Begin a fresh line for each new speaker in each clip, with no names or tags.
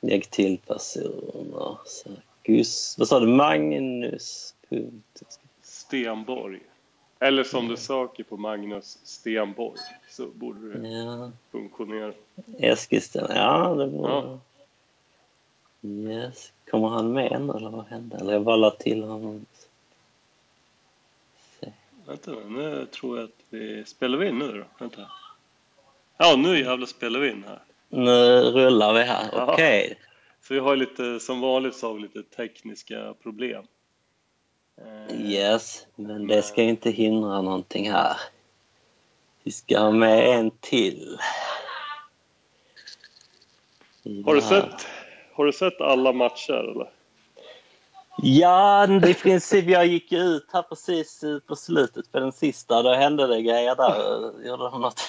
Lägg till personer. Sackus. Vad sa du? Magnus. Punkt.
Stenborg. Eller som du söker på Magnus Stenborg så borde det
Ja.
funktionera.
Eskilstuna. Ja, det var...
Ja.
Yes. Kommer han med än, eller vad hände? Eller jag bara la till honom. Se.
Vänta nu, nu tror jag att vi... Spelar vi in nu då? Vänta. Ja, nu jävlar spelar vi in här.
Nu rullar vi här.
Ja.
Okej.
Så vi har lite, som vanligt så har vi lite tekniska problem. Eh,
Yes, men det ska ju inte hindra någonting här. Vi ska ha med en till. I
Har du
det här.
sett, har du sett alla matcher eller?
Ja, i princip. Jag gick ju ut här precis eh, på slutet på den sista. Då hände det grejer där. Eh, Gjorde de något?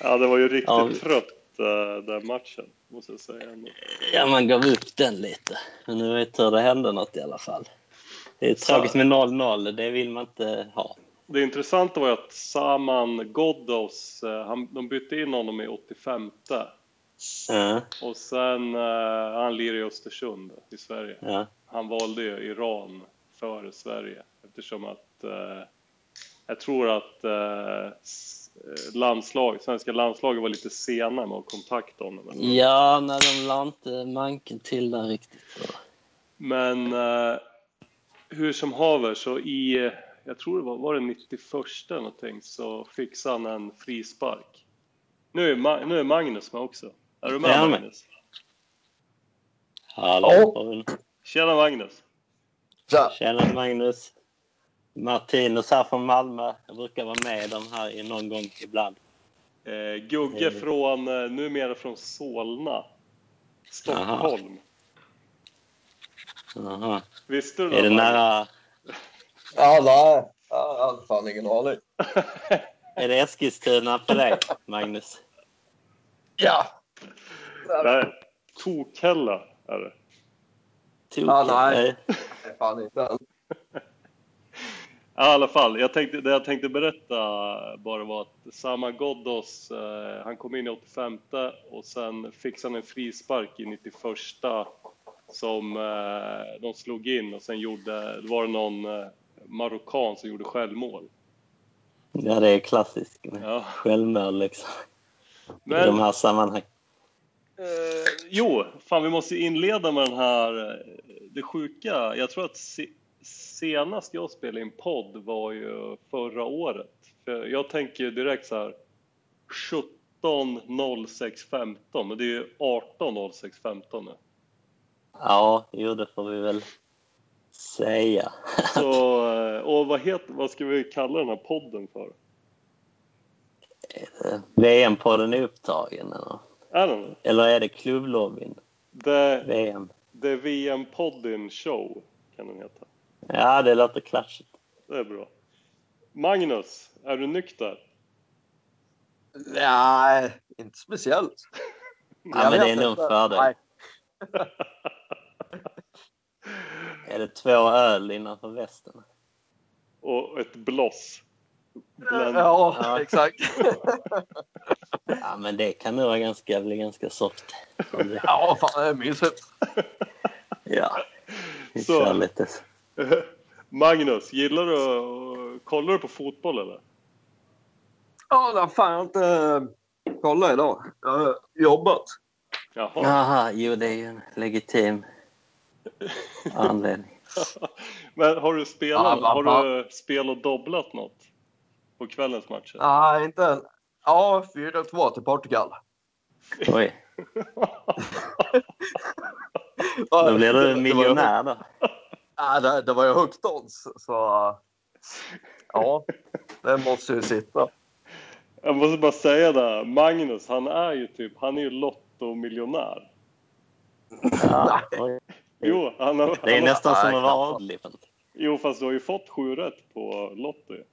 Ja, det var ju riktigt
Ja.
trött eh, den matchen, måste jag säga.
Ja, man gav upp den lite. Men nu är det tur det hände något i alla fall. Det är tragiskt med 0-0. Det vill man inte ha.
Det intressanta var ju att Saman Ghoddos, eh, han, de bytte in honom i 85
Ja,
och sen, eh, han lirar i Östersund i Sverige.
ja.
Han valde ju Iran före Sverige eftersom att eh, jag tror att eh, s- eh, landslag, svenska landslaget var lite sena med att kontakta honom. eller något.
ja nej, de la inte manken till där riktigt.
Men eh, hur som haver så i, eh, jag tror det var, var det 91 någonting så fixade han en frispark. Nu är, Ma- nu är Magnus med också. Är du med
Jag är med.
Magnus?
Hallå! Oh.
Tjena Magnus!
Tja!
Tjena Magnus! Martinus här från Malmö. Jag brukar vara med i de här i någon gång ibland.
Eh, Gugge
Hej.
från, eh, numera från Solna, Stockholm.
Aha.
Visste du
Är det
Magnus?
nära...
Ja, nej. Ja, Jag hade fan ingen aning.
Är det Eskilstuna på dig, Magnus?
Ja!
Nej, Torkhälla är det.
Tokigt.
Ja, nej.
Eh,
Nej, fan inte än.
Ja, I alla fall, jag tänkte, det jag tänkte berätta bara var att Sama Ghoddos, eh, han kom in i 85 och sen fixade han en frispark i 91 som eh, de slog in och sen gjorde, det var det någon eh, marockan som gjorde självmål.
Ja, det är klassiskt. med
Ja.
Självmål liksom. I de
Men
här sammanhangen.
eh, jo, fan vi måste ju inleda med den här, eh, det sjuka, jag tror att se, senast jag spelade in podd var ju förra året. För jag tänker ju direkt så här 17.06.15, men det är ju 18.06.15 nu.
Ja, jo, det får vi väl säga.
Så, eh, och vad, heter, vad ska vi kalla den här podden för?
Eh, VM-podden är upptagen, eller?
Är den det?
Eller är det klubblobbyn?
The,
VM?
The VM-podden show kan den heta.
Ja, det låter klatschigt.
Det är bra. Magnus, är du nykter?
Nej, inte speciellt.
Ja, men
Jag vet
det är nog en
inte.
fördel.
Nej.
Är det två öl innanför västen?
och ett bloss. Bland-
Ja,
Ja.
exakt.
Ja, men det kan nog vara ganska, bli ganska soft.
Ja, fan det är mysigt.
Ja, vi
Så.
kör lite.
Magnus, gillar du kollar du på fotboll eller?
Ja, det har fan jag inte eh, kollat idag. Jag har jobbat.
Jaha.
Jaha, jo det är ju en legitim anledning.
Men har du spelat,
Ja, vad
har du spelat och dobblat något på kvällens matcher?
Nej, inte än. Ja, 4-2 till Portugal.
Oj, då blir
Det- det
du
var-
miljonär då.
Ja, det, det var ju högt odds, så... Ja, det måste ju sitta.
Jag måste bara säga det, Magnus han är ju typ, han är ju lottomiljonär.
Ja, oj.
Jo, han har,
det är
han har,
nästan som att
Nej,
vara adlig.
jo fast du har ju fått sju rätt på Lotto ju.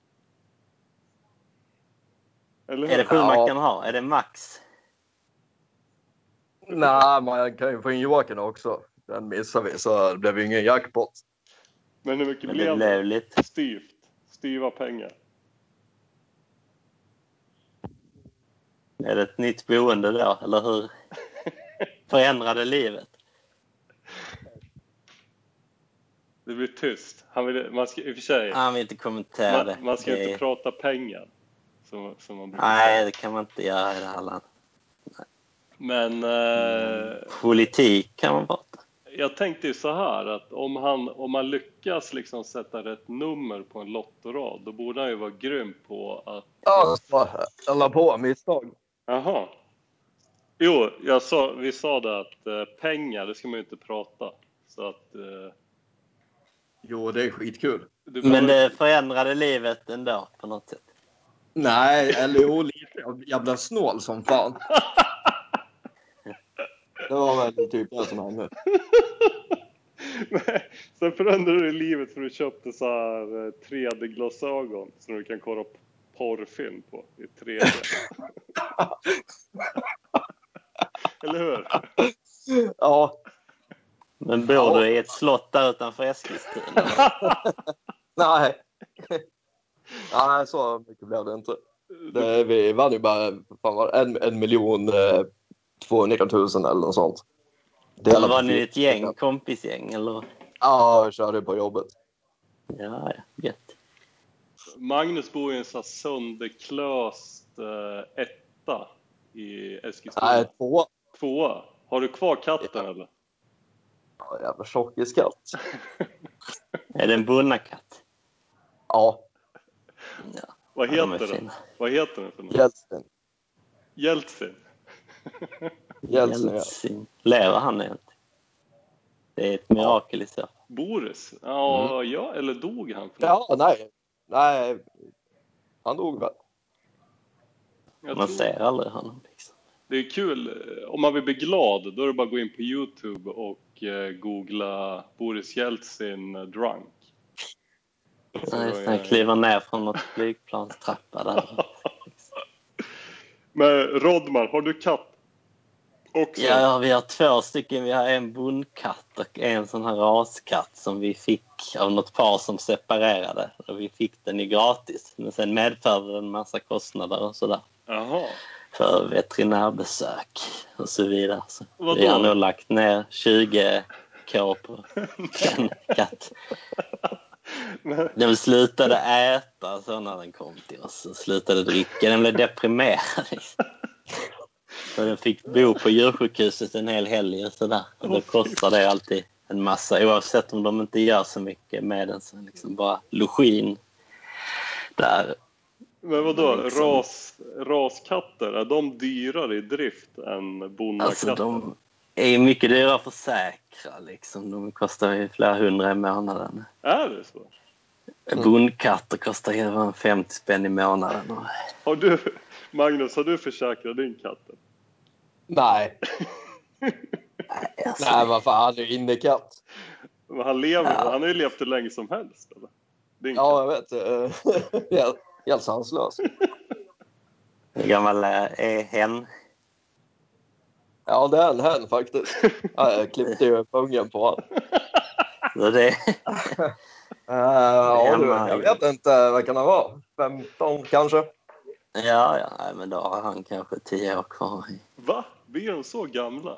Eller hur?
Är det sju man kan ha? Är det max?
Nej, man kan ju få in Joakim också. Den missade vi, så det blev ju ingen jackpot.
Men hur mycket
Men det
blev
blev
det?
lite.
Styvt. Styva pengar.
Är det ett nytt boende då, eller hur? Förändrade livet?
Det blir tyst. Han vill, man ska, I och för sig,
Han vill Ah, inte kommentera
man,
det.
man ska ju
Det är-
inte prata pengar. Som, som man brukar
Nej,
säga.
det kan man inte göra i det här landet.
Men eh,
Politik kan man prata.
jag tänkte ju så här att om han, om han lyckas liksom sätta rätt nummer på en lottorad då borde han ju vara grym på att
Ja, jag la på misstag.
Jaha. Jo, jag sa, vi sa det att eh, pengar, det ska man ju inte prata. Så att... Eh,
Jo, det är skitkul.
du
Men eh,
behöver-
det förändrade livet ändå på något sätt.
Nej, eller jo, lite. Jag- Jag blev snål som fan. Det var väl typ det som hände.
Sen förändrade du livet för du köpte så här eh, 3D-glasögon som du kan kolla p- porrfilm på i 3D. Eller hur?
Ja,
Men bor
Ja.
du i ett slott där utanför Eskilstuna?
nej. Nej, så mycket blev det inte. Det, vi vann ju bara fan var det, en, en miljon eh, 200 000 eller något sånt.
Eller var
på-
ni ett gäng, kompisgäng? Eller?
Ja, vi körde på jobbet.
Ja, ja, gött.
Magnus bor i en så här sönderklöst eh, etta i Eskilstuna.
Nej, två.
Tvåa. Har du kvar katten eller?
Ja, Jävla tjockiskatt.
Är det en bonnakatt?
Ja,
Vad
Ja, de är
heter den?
fina.
Vad heter den för något?
Jeltsin.
Jeltsin?
Jeltsin, ja.
Jeltsin. Lever han egentligen? Det är ett mirakel i så fall.
Boris? Ja,
Mm.
ja, eller dog han? För något?
Ja, nej. Nej, han dog väl.
Jag
Man
tror-
ser aldrig honom. Liksom.
Det är kul, om man vill bli glad då är det bara att gå in på Youtube och eh, googla Boris Jeltsin eh, drunk. Så,
Nej,
eh,
så han kliver ner från något flygplanstrappa där.
Men Rodman, har du katt också?
Ja, ja, vi har två stycken. Vi har en bondkatt och en sån här raskatt som vi fick av något par som separerade. Och vi fick den ju gratis. Men sen medförde den massa kostnader och sådär.
Jaha.
För veterinärbesök och så vidare. Så
Vadå?
vi har nog lagt ner 20 k på den katten.
Men,
Den slutade äta så när den kom till oss. Den slutade dricka. Den blev deprimerad. liksom. Så den fick bo på djursjukhuset en hel helg. Och sådär. Och då kostar det alltid en massa oavsett om de inte gör så mycket med den. Så liksom bara login där.
men vadå,
Liksom.
ras, raskatter, är de dyrare i drift än bonnakatter?
Alltså de är ju mycket dyrare att försäkra. Liksom. De kostar ju flera hundra i månaden.
Är det så?
Bondkatter kostar ju över 50 spänn i månaden. Och
Har du, Magnus, har du försäkrat din katt?
Nej,
alltså,
nej vad fan, han är ju innekatt.
Men han lever
Ja.
han har ju levt hur länge som helst eller? Din
Ja,
katt.
jag vet. eh, helt- Helt sanslös.
hur gammal är är hen?
Ja, det är en hen faktiskt. Ja, jag klippte ju pungen på Eh, honom.
Så det,
ja, du, jag
Hemma.
vet inte. Vad kan han vara? 15 kanske?
Ja, ja, nej, men då har han kanske tio år kvar. i-
Va? Blir de så gamla?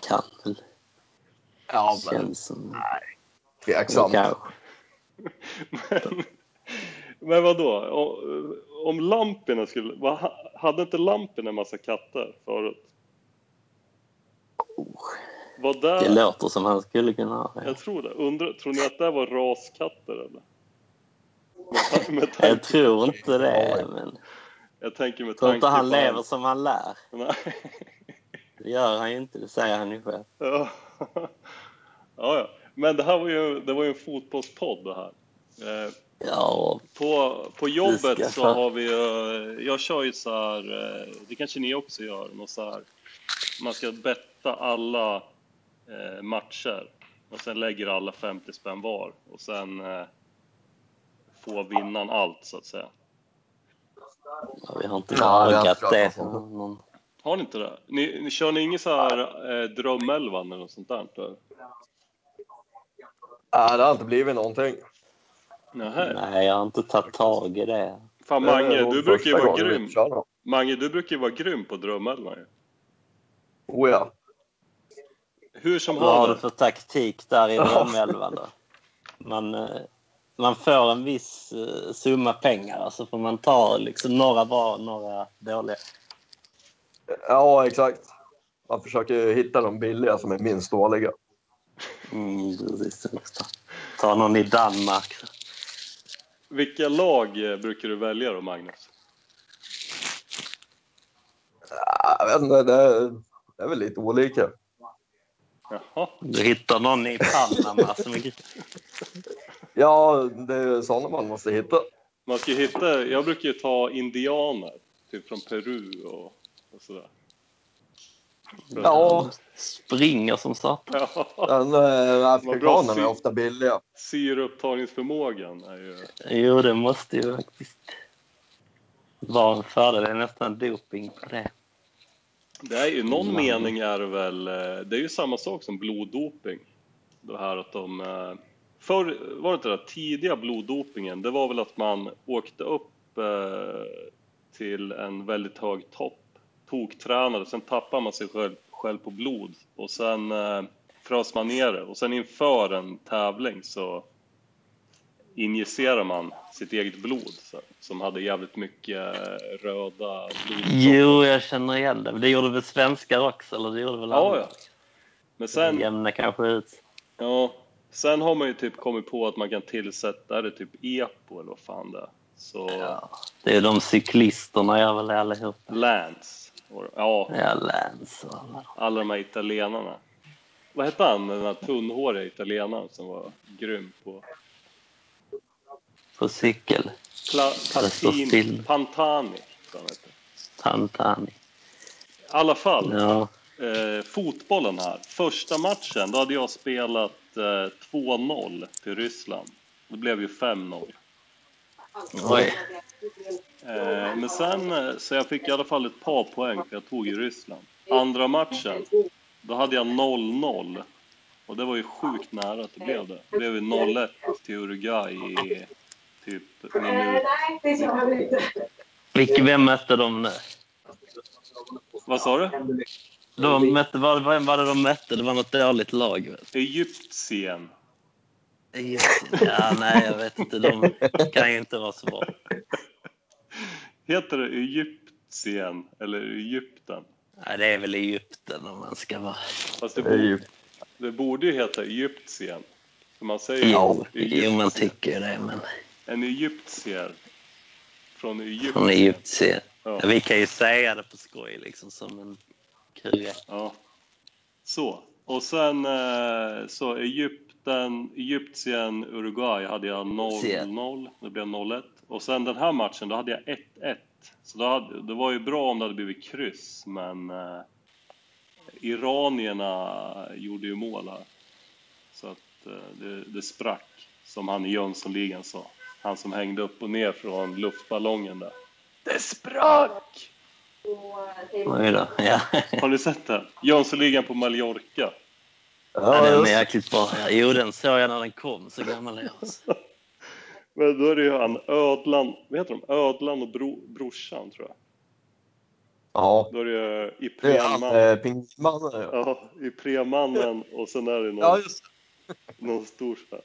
Kan väl.
Ja, men
Känns som.
tveksamt.
Kanske.
Men, men vadå? Om, om Lampinen skulle... Vad, ha- hade inte Lampinen en massa katter förut? Var
Oh. Det
där,
låter som han skulle kunna ha det.
jag tror det. Undrar, tror ni att det var raskatter eller? Med, ta- med
Jag
tanke,
tror inte det, men
jag tänker med
jag tror
tanke
inte
på...
han lever som han lär.
Nej.
Det gör han ju inte, det säger han ju själv.
Ja. ja, ja. Men det här var ju, det var ju en fotbollspodd det här. Eh,
Ja, och
På, på
Det ska
jobbet så
fan-
har vi eh, jag kör ju så här, eh, det kanske ni också gör, något så här, man ska betta alla eh, matcher och sen lägger alla 50 spänn var och sen eh, får vinnaren allt så att säga.
ja, vi har inte
Ja, vi har
lagat
pratat
det.
om det.
för någon-
Har ni inte det? Ni, ni kör ni ingen så här eh, drömelvan eller något sånt där? Eller?
Nej, det har inte blivit någonting.
Nähä.
Nej, jag har inte tagit tag i det.
Fan
Det är
Mange,
nog
du brukar ju
första
vara
gången vi
grym.
kör dem.
Mange, du brukar ju vara grym på drömelvan ju.
Oh ja.
Hur som
Vad har du
haver.
för taktik där i
Ja.
drömelvan då? man, eh, man får en viss eh, summa pengar och så får man ta liksom, några bra och några dåliga.
Ja, exakt. Man försöker ju hitta de billiga som är minst dåliga.
Mm, precis. Ta- Ta någon i Danmark.
Vilka lag eh, brukar du välja då, Magnus?
Ja, Jag vet inte, det är, det är väl lite olika.
Jaha.
Du hittar någon i Panama som är
Ja, det är ju sådana man måste hitta.
Man ska ju hitta, jag brukar ju ta indianer, typ från Peru och, och sådär.
Ja,
springer som satan.
Ja,
men, eh,
Vad
afrikanerna
bra
är ofta billiga.
syreupptagningsförmågan är ju...
Jo, det måste ju faktiskt vara en fördel. Det är nästan doping på det.
Det är ju någon
Mm.
mening är det väl, eh, det är ju samma sak som bloddoping. Det här att de, eh, förr var det inte det där, tidiga bloddopingen, det var väl att man åkte upp eh, till en väldigt hög topp, toktränade, sen tappade man sig själv, själv på blod och sen eh, frös man ner det och sen inför en tävling så injicerar man sitt eget blod så, som hade jävligt mycket eh, röda blodkroppar.
Jo, jag känner igen det. Men Det gjorde väl svenskar också? Eller det gjorde väl
Ja,
alla?
ja. Men
Sen...
sen,
Jämna kanske ut.
ja, sen har man ju typ kommit på att man kan tillsätta, är det typ EPO eller vad fan det är? Så
Ja. Det är de cyklisterna gör väl det allihop.
Lance, och, ja,
Ja, Lance och alla.
alla de här italienarna. Vad hette han, den här tunnhåriga italienaren som var grym på
På cykel.
Pla-
Jag står
Platini,
still.
Pantani. tror jag han hette.
Tantani.
I alla fall,
Ja.
eh, fotbollen här. Första matchen, då hade jag spelat eh, 2-0 till Ryssland. Det blev ju 5-0.
Oj.
Eh, men sen, eh, så jag fick i alla fall ett par poäng för jag tog ju Ryssland. Andra matchen, då hade jag 0-0. Och det var ju sjukt nära att det blev det. Det blev ju 0-1 till Uruguay i typ minut...
Nej, det känner jag väl inte.
Vilka, vem mötte de nu?
Vad sa du?
De mötte, vad, vem var det de mötte? Det var något dåligt lag. Vet.
Egyptien.
du. Ja, nej, jag vet inte. De kan ju inte vara så bra.
Heter det Egyptien eller Egypten?
Nej, det är väl Egypten om man ska vara...
Fast det
Det är
borde,
ju-
det borde ju heta Egyptien. För man säger
Jo,
Egypt-
jo man tycker ju det, men
en egyptier. Från
från
Egypten.
egyptier.
Ja.
Ja, vi kan ju säga det på skoj, liksom, som en kul
Ja. Så. Och sen eh, så Egypten, Egyptien, Uruguay hade jag 0-0. Det blev 0-1. Och sen den här matchen, då hade jag 1-1. Så då hade, det var ju bra om det hade blivit kryss, men eh, iranierna gjorde ju mål här. Så att eh, det, det sprack, som han i Jönssonligan sa. Han som hängde upp och ner från luftballongen där. Det sprack!
Oj då. Ja.
Har ni sett den? Jönssonligan på Mallorca.
Ja,
Ja,
den är
just,
jäkligt bra. Ja, Jo, den såg jag när den kom. Så gammal är jag. alltså.
Men då är det ju han Ödlan, vad heter de? Ödlan och bro, brorsan tror jag.
ja.
Då är det ju
Det är han,
Ipremannen,
eh, pingmannen. ja.
ja, Ipremannen och sen är det någon,
Ja, just
någon stor så här.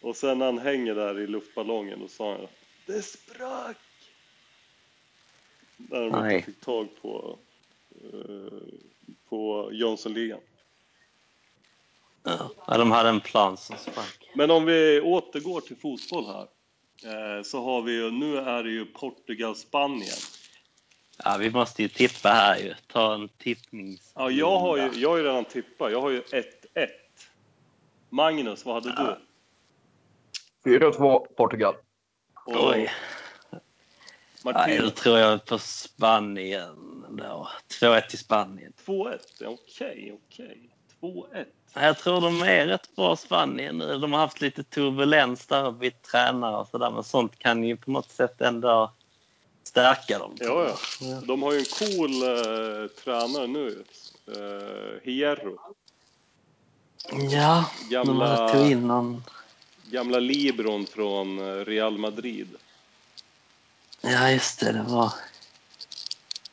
Och sen när han hänger där i luftballongen och sa han Det sprack! När de
Nej.
inte fick tag på, eh, på Jönssonligan.
Ja, Ja, de hade en plan som sprack.
Men om vi återgår till fotboll här. eh, Så har vi ju, nu är det ju Portugal-Spanien.
Ja, vi måste ju tippa här ju. Ta en tippnings...
Ja, jag har ju, jag har ju redan tippat. Jag har ju 1-1. Magnus, vad hade du?
4-2 Portugal.
Och
Oj. Nej, då
Martin,
tror jag på Spanien då. 2-1 till Spanien.
2-1. Ja, Okej, okej. 2-1.
Ja, Jag tror de är rätt bra Spanien nu. De har haft lite turbulens där och bytt tränare och sådär. Men sånt kan ju på något sätt ändå stärka dem.
Ja, ja.
Ja.
De har ju en cool eh, tränare nu. Uh, Hierro.
Ja, de
Gamla,
har tog in någon...
gamla Libron från eh, Real Madrid.
Ja, just det. Det var...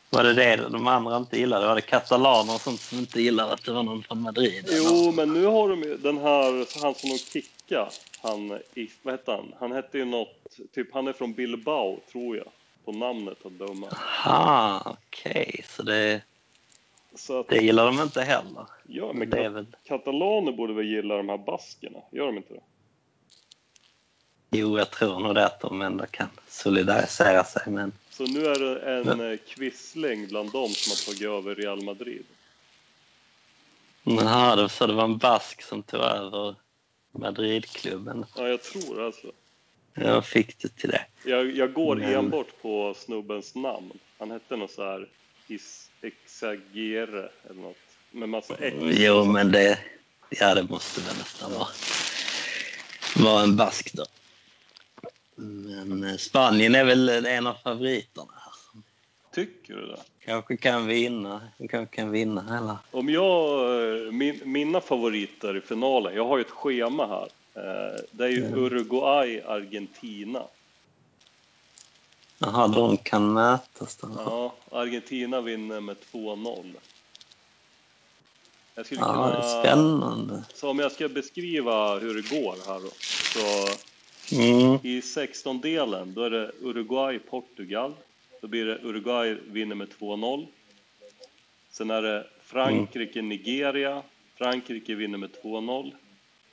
Var det det de andra inte gillade? Var det katalaner och sånt som inte gillade att det var någon från Madrid?
Jo, men nu har de ju den här, han som de kickade, han, i- vad hette han? Han hette ju något, typ han är från Bilbao tror jag, på namnet att döma.
Aha, okej. Så det,
Så att,
det gillar de inte heller.
ja, men
Men det är
kat-
väl...
katalaner borde väl gilla de här baskerna, gör de inte det?
Jo, jag tror nog det att de ändå kan solidarisera sig med en
Så nu är det en eh, quisling bland dem som har tagit över Real Madrid.
Jaha, det- så det var en bask som tog över Madridklubben.
Ja, jag tror alltså.
Jag fick det till det.
Jag, jag går
Men-
enbart på snubbens namn. Han hette något så här Is- Exagere eller något. alltså, Med massa X.
Jo, men det... Ja, det måste väl nästan vara, vara en bask då. Men eh, Spanien är väl en av favoriterna. här.
Tycker du det?
Kanske kan vinna. Kanske kan vinna hela.
Om jag, eh, min, mina favoriter i finalen, jag har ju ett schema här. Eh, Det är ju
Mm.
Uruguay, Argentina.
Jaha, de kan mötas då.
Ja, Argentina vinner med 2-0. Jag skulle
Ja, det är
kunna...
spännande.
Så om jag ska beskriva hur det går här då. Så
Mm.
I 16-delen då är det Uruguay-Portugal. Då blir det Uruguay vinner med 2-0. Sen är det
Mm.
Frankrike-Nigeria. Frankrike vinner med 2-0.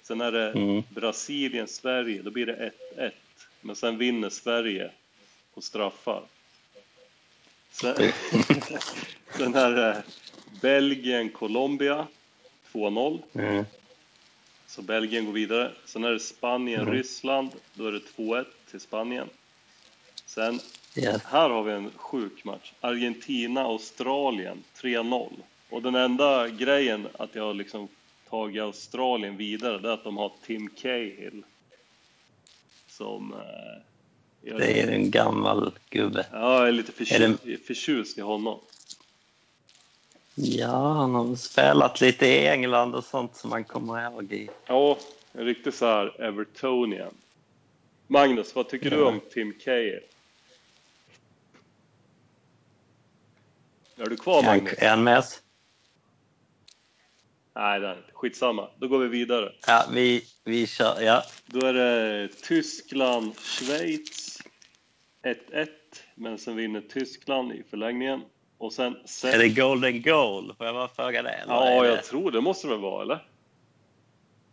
Sen är det
Mm.
Brasilien-Sverige. Då blir det 1-1. Men sen vinner Sverige på straffar. Sen, sen är det Belgien-Colombia 2-0.
Mm.
Så Belgien går vidare. Sen är det
Mm.
Spanien-Ryssland. Då är det 2-1 till Spanien. Sen,
Ja.
här har vi en sjuk match. Argentina-Australien 3-0. Och den enda grejen att jag har liksom tagit Australien vidare, det är att de har Tim Cahill. Som... Eh, jag,
Det är en gammal gubbe.
Ja, jag är lite förtjust,
Är
förtjust i honom.
Ja, han har väl spelat lite i England och sånt som man kommer ihåg i
Ja, en riktig så här Evertonian. Magnus, vad tycker du
Ja.
om Tim Cahill? Är du kvar
Är han-
Magnus?
Är han med oss?
Nej, det är han inte. Skitsamma, då går vi vidare.
Ja, vi, vi kör. Ja.
Då är det Tyskland, Schweiz 1-1, men sen vinner Tyskland i förlängningen. Och sen...
Är det golden goal? Får jag bara fråga det? eller
Ja,
är
jag
det...
tror det måste det väl vara, eller?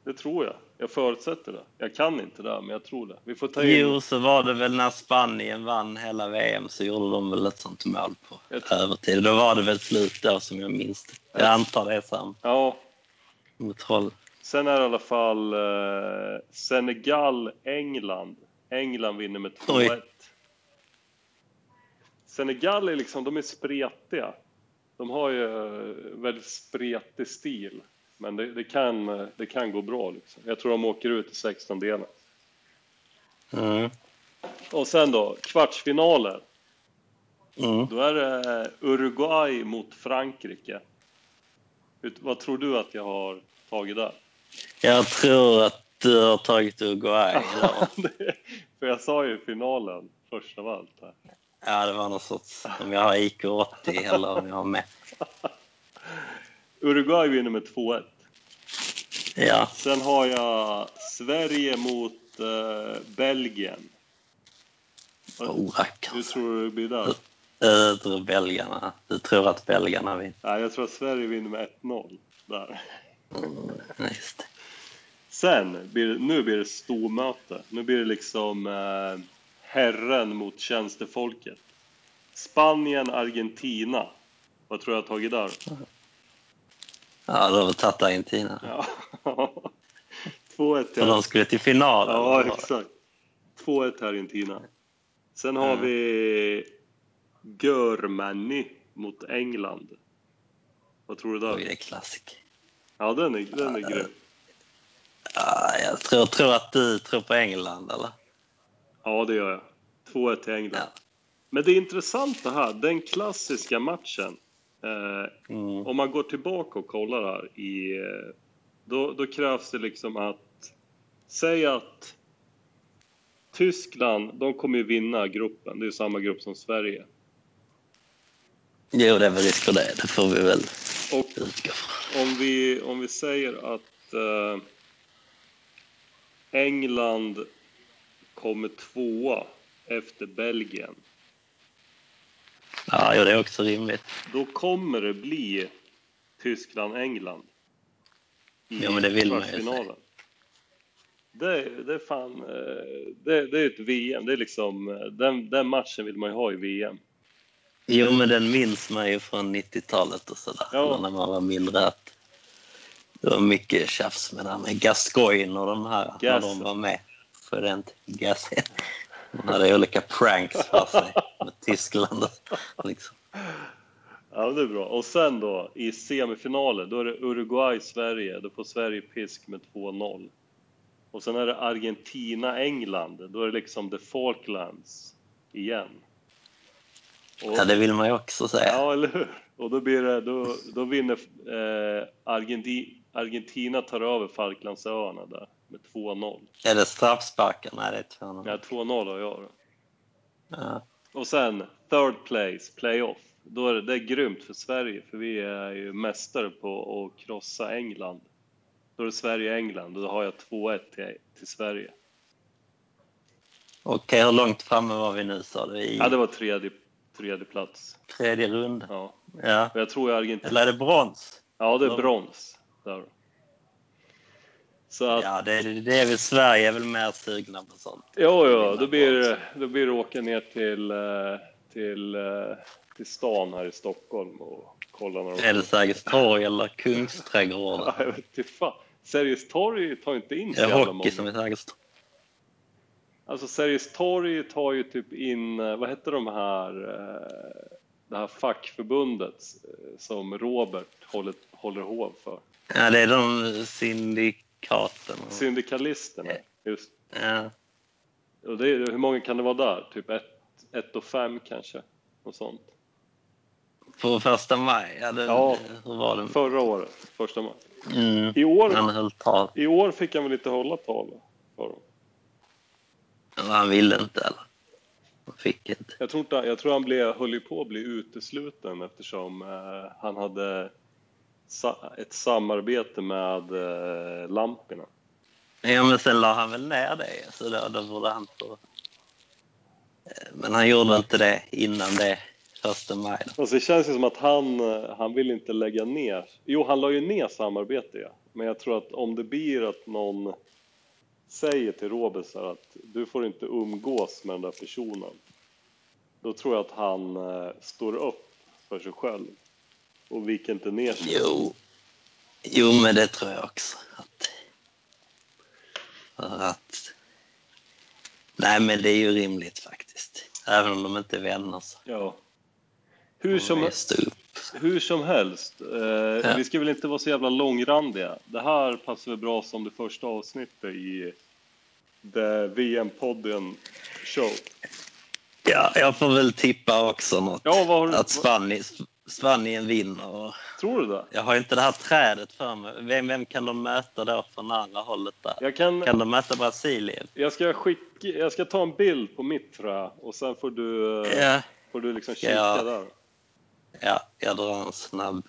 Det tror jag. Jag förutsätter det. Jag kan inte det, här, men jag tror det. Vi får ta in...
Jo, så var det väl när Spanien vann hela VM så gjorde de väl ett sånt mål på
Jag tror-
övertid. Då var det väl slut då som jag minns det. Jag antar det är samma
Ja,
mot Holland.
Sen är det i alla fall eh, Senegal, England. England vinner med 2-1. Senegal är liksom, de är spretiga. De har ju eh, väldigt spretig stil. Men det, det, kan, eh, det kan gå bra liksom. Jag tror de åker ut i 16 delen.
Mm.
Och sen då, kvartsfinaler.
Mm.
Då är det eh, Uruguay mot Frankrike. Ut, vad tror du att jag har tagit där?
Jag tror att du har tagit Uruguay. då.
Det- För jag sa ju finalen först av allt. Här.
Ja, det var någon sorts om jag har IQ 80 eller om jag har med.
Uruguay vinner med 2-1.
Ja,
Sen har jag Sverige mot eh, Belgien.
oh, rackarn.
Hur tror du det blir där?
Jag tror belgarna. Du tror att belgarna vinner.
Nej, jag tror att Sverige vinner med 1-0. Där.
Mm, just det.
Sen, blir, det- nu blir det stormöte. Nu blir det liksom eh, herren mot tjänstefolket. Spanien, Argentina. Vad tror jag har tagit där?
Ja, då var tagit Argentina.
Ja. 2-1 till
För de skulle till finalen.
Ja, exakt. 2-1 till Argentina. Sen har
Ja.
vi Görmany mot England. Vad tror du
Oj, det
där?
är klassik.
Ja, den är, den är grym.
Ja, jag tror, tror att du tror på England, eller?
Ja, det gör jag. 2-1 till England.
Ja.
Men det intressanta här, den klassiska matchen. Eh,
Mm.
om man går tillbaka och kollar här i... eh, Då, då krävs det liksom att... Säg att Tyskland, de kommer ju vinna gruppen. Det är ju samma grupp som Sverige.
Jo, det är väl risk för det. Det får vi väl
Och
utgå från.
om vi, om vi säger att eh, England kommer tvåa efter Belgien.
Ja, jo, det är också rimligt.
Då kommer det bli Tyskland-England i
Ja, men det vill man ju
kvartsfinalen. Det, det är fan, eh, det, det är ett VM, det är liksom, eh, den, den matchen vill man ju ha i VM.
Jo, men den minns man ju från 90-talet och sådär.
Ja.
När man var mindre. Att det var mycket tjafs med, det här med Gascoigne och de här. När
Gas.
de var med. För rent gas. De hade olika pranks för sig med Tyskland. och- Liksom.
Ja, men det är bra. Och sen då i semifinalen, då är det Uruguay-Sverige, då får Sverige pisk med 2-0. Och sen är det Argentina-England, då är det liksom the Falklands igen. Och-
Ja, det vill man ju också säga.
Ja, eller hur? Och då blir det, då, då vinner eh, Argenti, Argentina tar över Falklandsöarna där med 2-0.
Är det straffsparkar? Nej, det är 200.
Ja, 2-0 har jag då.
Ja.
Och sen third place, playoff. Då är det, det är grymt för Sverige, för vi är ju mästare på att krossa England. Då är det Sverige-England och då har jag 2-1 till, till Sverige.
Okej, hur långt framme var vi nu sa du? I
Ja, det var tredje, tredje plats.
tredje runda?
Ja.
Ja.
Och jag tror Argentina...
Eller är det brons?
Ja, det är brons. Där. Så att...
Ja, det, det är väl Sverige är väl mer sugna på sånt.
Jo, jo,
Vinna
då blir,
brons.
det- då blir det åka ner till, eh, till, eh, till stan här i Stockholm och kolla när de...
Är det Sergels torg eller
Ja,
Kungsträdgården?
jag vet inte fan. Sergels torg tar inte in så
Är det
jävla
hockey som
många.
är Sergels torg?
Alltså Sergels torg tar ju typ in, eh, vad hette de här, eh, det här fackförbundet eh, som Robert håller, håller hov för?
Ja, det är de syndikaten.
Syndikalisterna. Just.
Ja.
Och det, är- hur många kan det vara där? Typ ett, ett och fem kanske? Något sånt.
På första maj, ja, det,
Ja.
hur var det?
Förra året, första maj.
Mm.
I år
Han höll tal.
I år fick han väl inte hålla tal för dem.
Men Han ville inte eller? Han fick inte.
Jag tror, inte, jag tror han blev, höll ju på att bli utesluten eftersom eh, han hade sa, ett samarbete med eh, lamporna.
Ja, men sen la han väl ner det, så då, då borde han få... Eh, Men han gjorde inte det innan det första maj. då.
Alltså det känns ju som att han, eh, han vill inte lägga ner. Jo, han la ju ner samarbete ja. Men jag tror att om det blir att någon säger till Robert så här att du får inte umgås med den där personen. Då tror jag att han eh, står upp för sig själv och viker inte ner sig.
Jo. jo, men det tror jag också. Att, för att... Nej, men det är ju rimligt faktiskt. Även om de inte är vänner så
Ja. Hur
får man
som,
ju stå upp.
hur som helst, eh, vi ska väl inte vara så jävla långrandiga. Det här passar väl bra som det första avsnittet i The VM-podden show.
Ja, jag får väl tippa också något.
Ja, vad har du,
Att
vad,
Spanien, Spanien vinner. Och
tror du det?
jag har ju inte det här trädet för mig. Vem, vem kan de möta då från andra hållet där?
Jag, kan,
Kan de möta Brasilien?
jag, ska skicka, jag ska ta en bild på mitt trä och sen får du, eh,
Ja,
får du liksom kika
Ja.
där.
ja jag drar en snabb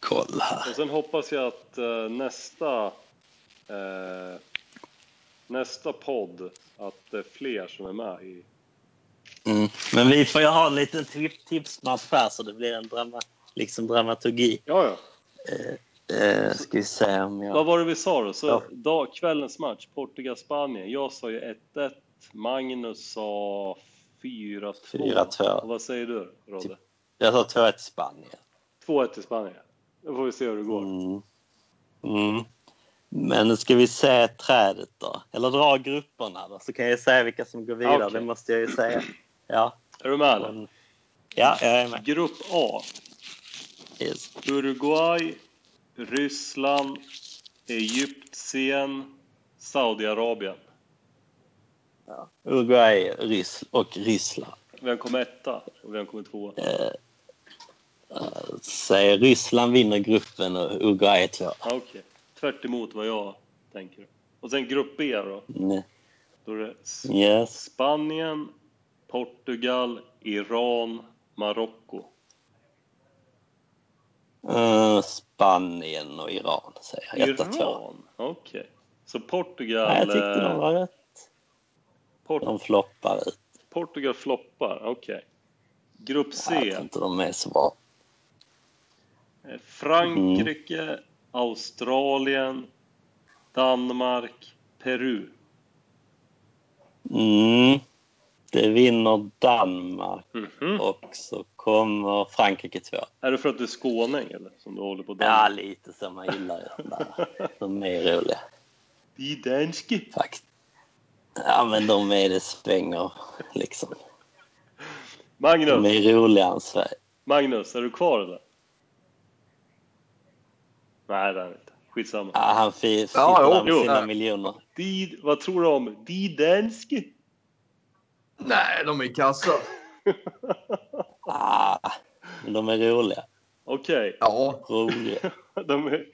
koll här.
Och sen hoppas jag att eh, nästa eh, nästa podd att det är fler som är med i
Mm. Men vi får ju ha en liten tip- tipsmatch här så det blir en drama, liksom dramaturgi.
Ja, ja.
Eh, ska vi se om
Vad
jag...
var det vi sa då? Så
Ja.
dag, kvällens match, Portugal-Spanien. Jag sa ju 1-1. Magnus sa 4-2.
4-2.
Och Vad säger du,
Typ.
Rodde?
Jag sa 2-1 till Spanien.
2-1 till Spanien. Då får vi se hur det går.
Mm. Mm. Men nu ska vi se trädet då? Eller dra grupperna då, så kan jag säga vilka som går vidare. Det
Okej.
måste jag ju säga. Ja,
Är du med?
Mm.
eller?
ja jag är med.
Grupp A.
Yes.
Uruguay, Ryssland, Egypten, Saudiarabien.
Uruguay Ryss och Ryssland.
Vem kommer etta och vem kommer tvåa?
Eh, Säger Ryssland vinner gruppen och Uruguay är två.
Ah, Okej, tvärt emot vad jag tänker. Och sen grupp B då.
Mm.
Då är det
Yes.
Spanien, Portugal, Iran, Marocko.
Eh, Spanien och Iran säger jag. Etta, tvåa.
Iran? Okej. Så
Nej,
Portugal,
jag tyckte de
eh,
var rätt.
Port-
De floppar ut.
Portugal floppar, okej. Grupp
Jag
C,
tror inte de är så bra.
eh, Frankrike,
Mm.
Australien, Danmark, Peru.
Mm. Det vinner Danmark
Mhm.
och så kommer Frankrike två.
Är det för att du är skåning eller? Som du håller på
Ja,
Danmark?
lite så. Man gillar ju sånt där. De är roliga
Vi är danske.
faktiskt. Ja, men de är det svänger liksom. De
Magnus,
är roligare än Sverige.
Magnus, är du kvar eller? Nej, det är han inte. Skitsamma.
Ja, han fi-
Ja,
fipplar
jo,
med
jo.
sina
Ja.
miljoner.
De, vad tror du om De danske?
Nej, de är kassa.
Ah, men de är roliga.
Okej.
Ja.
Roliga.
De är,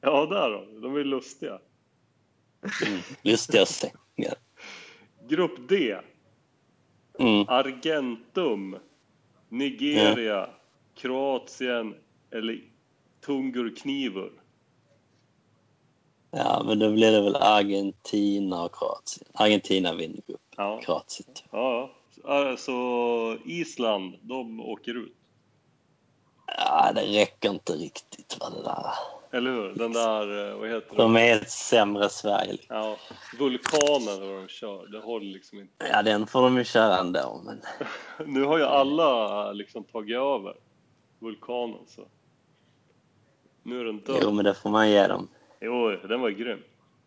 ja, där då. De är lustiga.
Mm. Lustiga att se. Ja.
Grupp D.
Mm.
Argentum. Nigeria. Kroatien. Eller Tungurknivur.
Ja, men då blir det väl Argentina och Kroatien. Argentina vinner gruppen.
Ja, ja.
Kroatien. tror
ja. Så- Så Island, de åker ut.
jag. Ja, det räcker inte riktigt. Va, det där.
Eller hur? Den där, eh, vad heter det?
De är ett sämre Sverige. liksom.
Ja, vulkanen eller vad de kör. Det håller liksom inte.
Ja, den får de ju köra ändå. Men...
Nu har ju alla liksom tagit över vulkanen så. Nu är den död.
Jo, men det får man ge dem.
Jo, den var ju grym.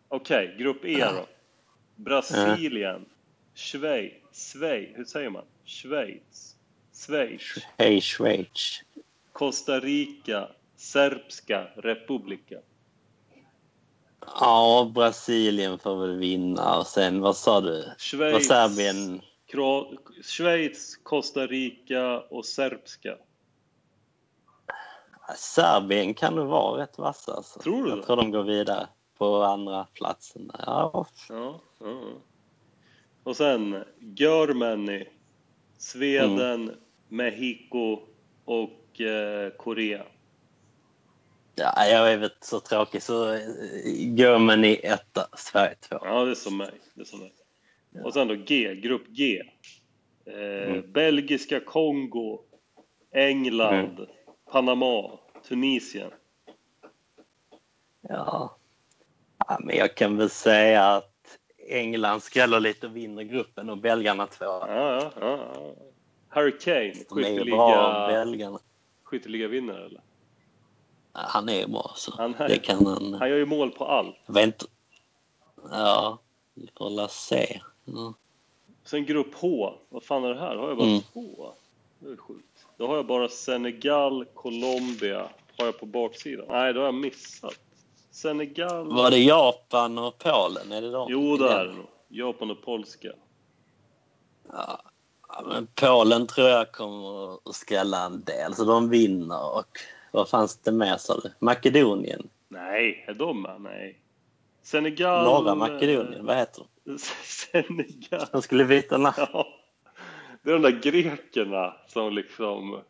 Okej, grupp E
Ja.
då. Brasilien, Schweiz, Schweiz, hur säger man? Schweiz, Schweiz,
Hej, Schweiz.
Costa Rica, Serbska republika.
Ja, Brasilien får väl vinna. Och sen, vad sa du? Vad
Schweiz,
Serbien?
Kro- Schweiz, Costa Rica och Serbska.
Serbien kan nog vara rätt vassa. Alltså.
Tror du
Jag
det?
tror de går vidare på andra platsen. Ja,
Ja, ja, ja. Och sen Germany, Sweden,
Mm.
Mexiko och eh, Korea.
ja, jag är väl så tråkig så eh, Germany etta, Sverige två.
Ja, det är som mig. Det är som mig. Och sen då G, grupp G. Eh,
Mm.
Belgiska Kongo, England,
Mm.
Panama, Tunisien.
Ja. ja, men jag kan väl säga att England skräller lite och vinner gruppen och belgarna två.
Ja, ja, ja, ja. Hurricane,
De är ju bra,
skytteliga,
belgarna.
skytteliga vinnare eller?
Han är bra, så
Han är-
det kan han.
Han gör ju mål på allt.
Jag vet inte. Ja, vi får la se. Mm.
Sen grupp H. Vad fan är det här? Har jag bara
Mm.
två? Det är sjukt. Då har jag bara Senegal, Colombia. Har jag på baksidan? Nej, då har jag missat. Senegal.
Var det Japan och Polen? Är det de?
Jo, det är det nog. Japan och polska.
Ja, men Polen tror jag kommer att skrälla en del, så de vinner. Och vad fanns det mer, sa du? Makedonien?
Nej, är de med? Nej. Senegal.
Norra Makedonien? Vad heter de?
eh, Senegal.
De skulle byta namn.
Ja. Det är de där grekerna som liksom...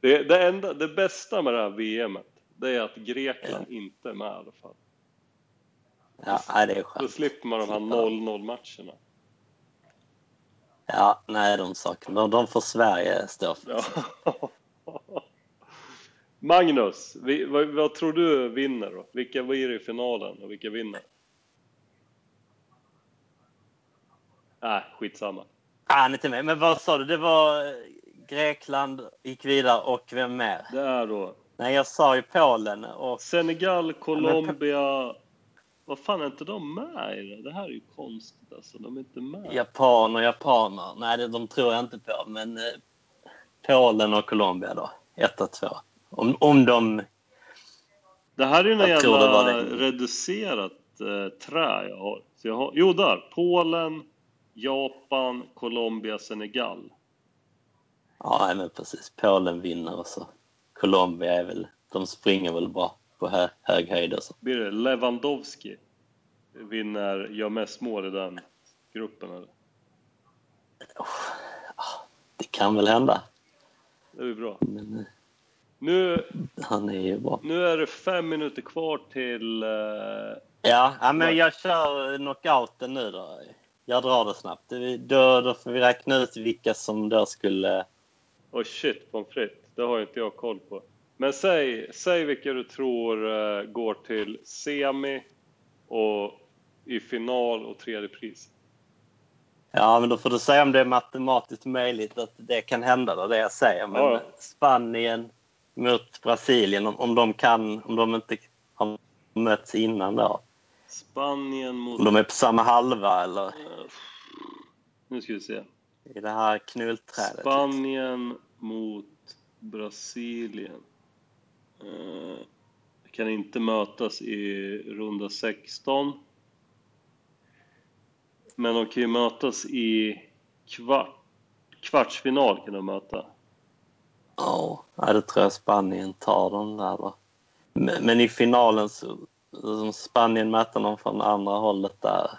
Det, det, enda, det bästa med det här VMet, det är att Grekland inte är med i alla fall.
Ja, nej, det är
Då
skönt.
slipper man de här 0-0 matcherna.
Ja, nej, de sakerna. De, de får Sverige stå för.
Ja. Magnus, vi, vad, vad tror du vinner då? Vilka blir i finalen och vilka vinner? Nej, Äh, skitsamma.
Ah, han är inte med. Men vad sa du? Det var eh, Grekland gick vidare och vem mer?
Det är då
Nej, jag sa ju Polen och...
Senegal, Colombia... Vad fan är inte de med i det? Det här är ju konstigt alltså. De är inte med.
Japan och japaner. Nej, det, de tror jag inte på. Men eh, Polen och Colombia då. 1 och 2. Om, om de...
Det här är ju något
Jag tror det var
jävla
det.
reducerat eh, trä jag har. Så jag har. Jo, där! Polen, Japan, Colombia, Senegal.
Ja, nej, men precis. Polen vinner och så. Colombia är väl... De springer väl bra på hö, hög höjd och så.
Blir det Lewandowski vinner, gör mest mål i den gruppen eller?
Det kan väl hända.
Det är ju bra.
Men, eh,
Nu,
Han är ju bra.
nu är det fem minuter kvar till... eh,
Ja, ja, men jag kör knockouten nu då. Jag drar det snabbt. Det- Då, då får vi räkna ut vilka som då skulle...
Oj shit pommes frites, det har ju inte jag koll på. Men säg, säg vilka du tror eh, går till semi och i final och tredje pris.
Ja, men då får du säga om det är matematiskt möjligt att det kan hända då, det jag säger. Men
Ja, ja.
Spanien mot Brasilien, om, om de kan... Om de inte har mötts innan då.
Spanien mot... eh,
Om de är på samma halva eller
Nu ska vi se.
i det här liksom. knullträdet.
Spanien mot Brasilien. Eh, kan inte mötas i runda 16. Men de kan ju mötas i kvart, kvartsfinal. kan de möta.
Ja, ja, det tror jag Spanien tar den där då. Men, men i finalen så som Spanien möter någon från andra hållet där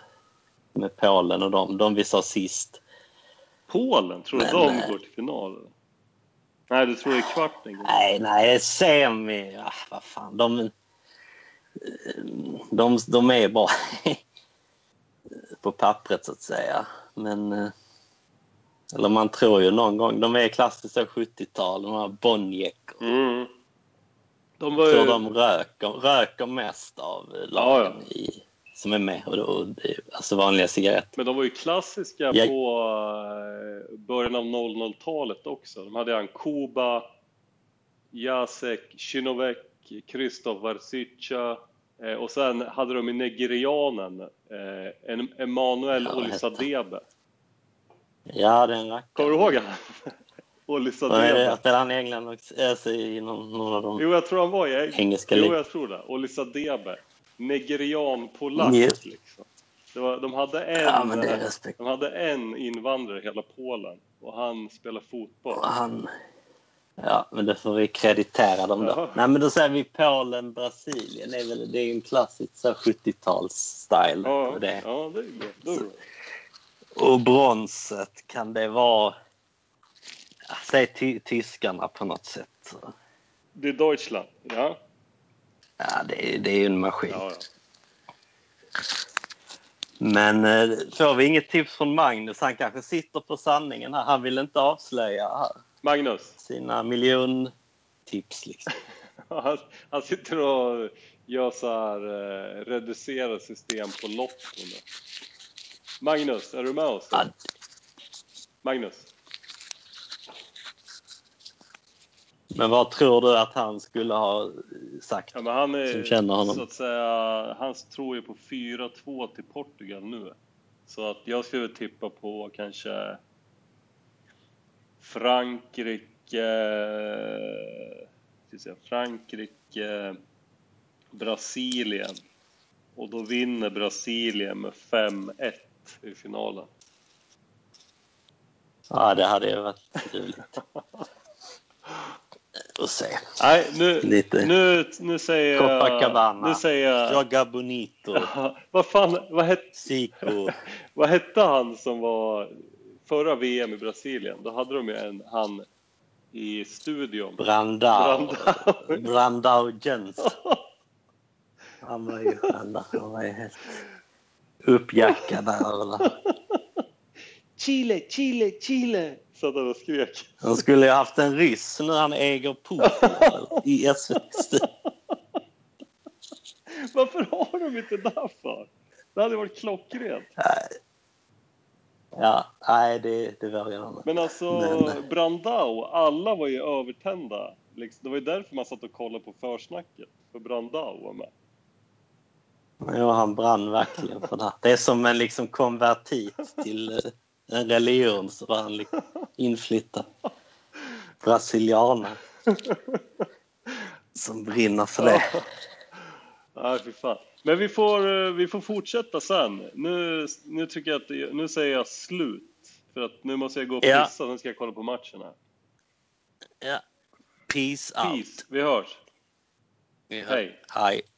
med Polen och dem. De vi sa sist.
Polen, tror du
Men,
de
eh,
går till final? Eller? Nej, du tror det är kvarten? går.
Nej, nej, semi. Ah, vad fan, de, de, de är bra på pappret så att säga. Men eh, eller man tror ju någon gång. De är klassiska 70-tal, de här Boniek
Mm. De var
tror
ju...
de röker, röker mest av lagen
Ja,
i, som är med. Och, och, alltså vanliga cigaretter.
Men de var ju klassiska
Jag-
på eh, början av 00-talet också. De hade han Kuba, Jacek, Chinovek, Krzysztof Varsica eh, och sen hade de ju nigerianen eh, en- Emanuel
Ja, vad hette
Olisadebe.
Ja, det är en rackare.
Kommer du ihåg han?
Och är det-
Olisadebe.
Spelar han i England också? Alltså, i någon, någon av de
Jo, jag tror han var i England.
engelska
Jo,
ligorna?
jag tror det. Olisadebe. Nigerian polack
Ja.
liksom. Det var, de hade en...
Ja, men
eh,
det är respekt.
De hade en invandrare i hela Polen och han spelar fotboll.
Och Han... Ja, men det får vi kreditera dem då.
Jaha.
Nej, men då säger vi Polen, Brasilien. Det är, väl, det är ju en klassisk så här 70-tals-style.
Ja,
på
ja,
det.
ja, det är bra. Det är bra.
Och bronset, kan det vara... Ja, Säg ty- tyskarna på något sätt.
Det är Deutschland. Ja,
Ja, det, är- det är ju en maskin.
ja, ja.
Men eh, får vi inget tips från Magnus? Han kanske sitter på sanningen här. Han vill inte avslöja
Magnus,
sina miljontips. Liksom.
han, han sitter och gör så här, eh, reducerar system på Lotto nu. Magnus, är du med oss?
Ja,
Magnus?
men vad tror du att han skulle ha sagt?
Ja, men han är,
Som känner honom.
Så att säga, han tror ju på 4-2 till Portugal nu. Så att jag skulle tippa på kanske Frankrike, ska säga, Frankrike, Brasilien. Och då vinner Brasilien med 5-1 i finalen.
Ja, det hade ju varit roligt. Och se.
Nej, nu,
Lite.
nu, nu säger jag...
Copacabana.
Nu säger jag...
Joga Bonito,
Vad fan, vad hette
Zico.
Vad hette han som var förra VM i Brasilien? Då hade de ju en han i studion.
Brandao.
Brandao.
Brandao Jens. Han var ju, han var- han var ju helt uppjackad där. eller?
Chile, Chile, Chile! Satt han och skrek.
Han skulle ju haft en ryss nu han äger Putin i SVT.
Varför har de inte där för? Det hade varit klockrent.
Ja, nej, det, det var redan.
Men alltså
Men-
Brandao, alla var ju övertända. Liksom, Det var ju därför man satt och kollade på försnacket. För Brandao var med.
Jo, han brann verkligen för det här. Det är som en liksom konvertit till eh, en religion så var han liksom inflyttad. Brasilianer. Som brinner för det.
Nej, fy fan. Men vi får, eh, vi får fortsätta sen. Nu, nu, tycker jag att, det- nu säger jag slut. För att nu måste jag gå och
Ja.
pissa, sen ska jag kolla på matchen här.
Ja. Peace out.
Peace, vi hörs.
Ja.
Hej.
Hej.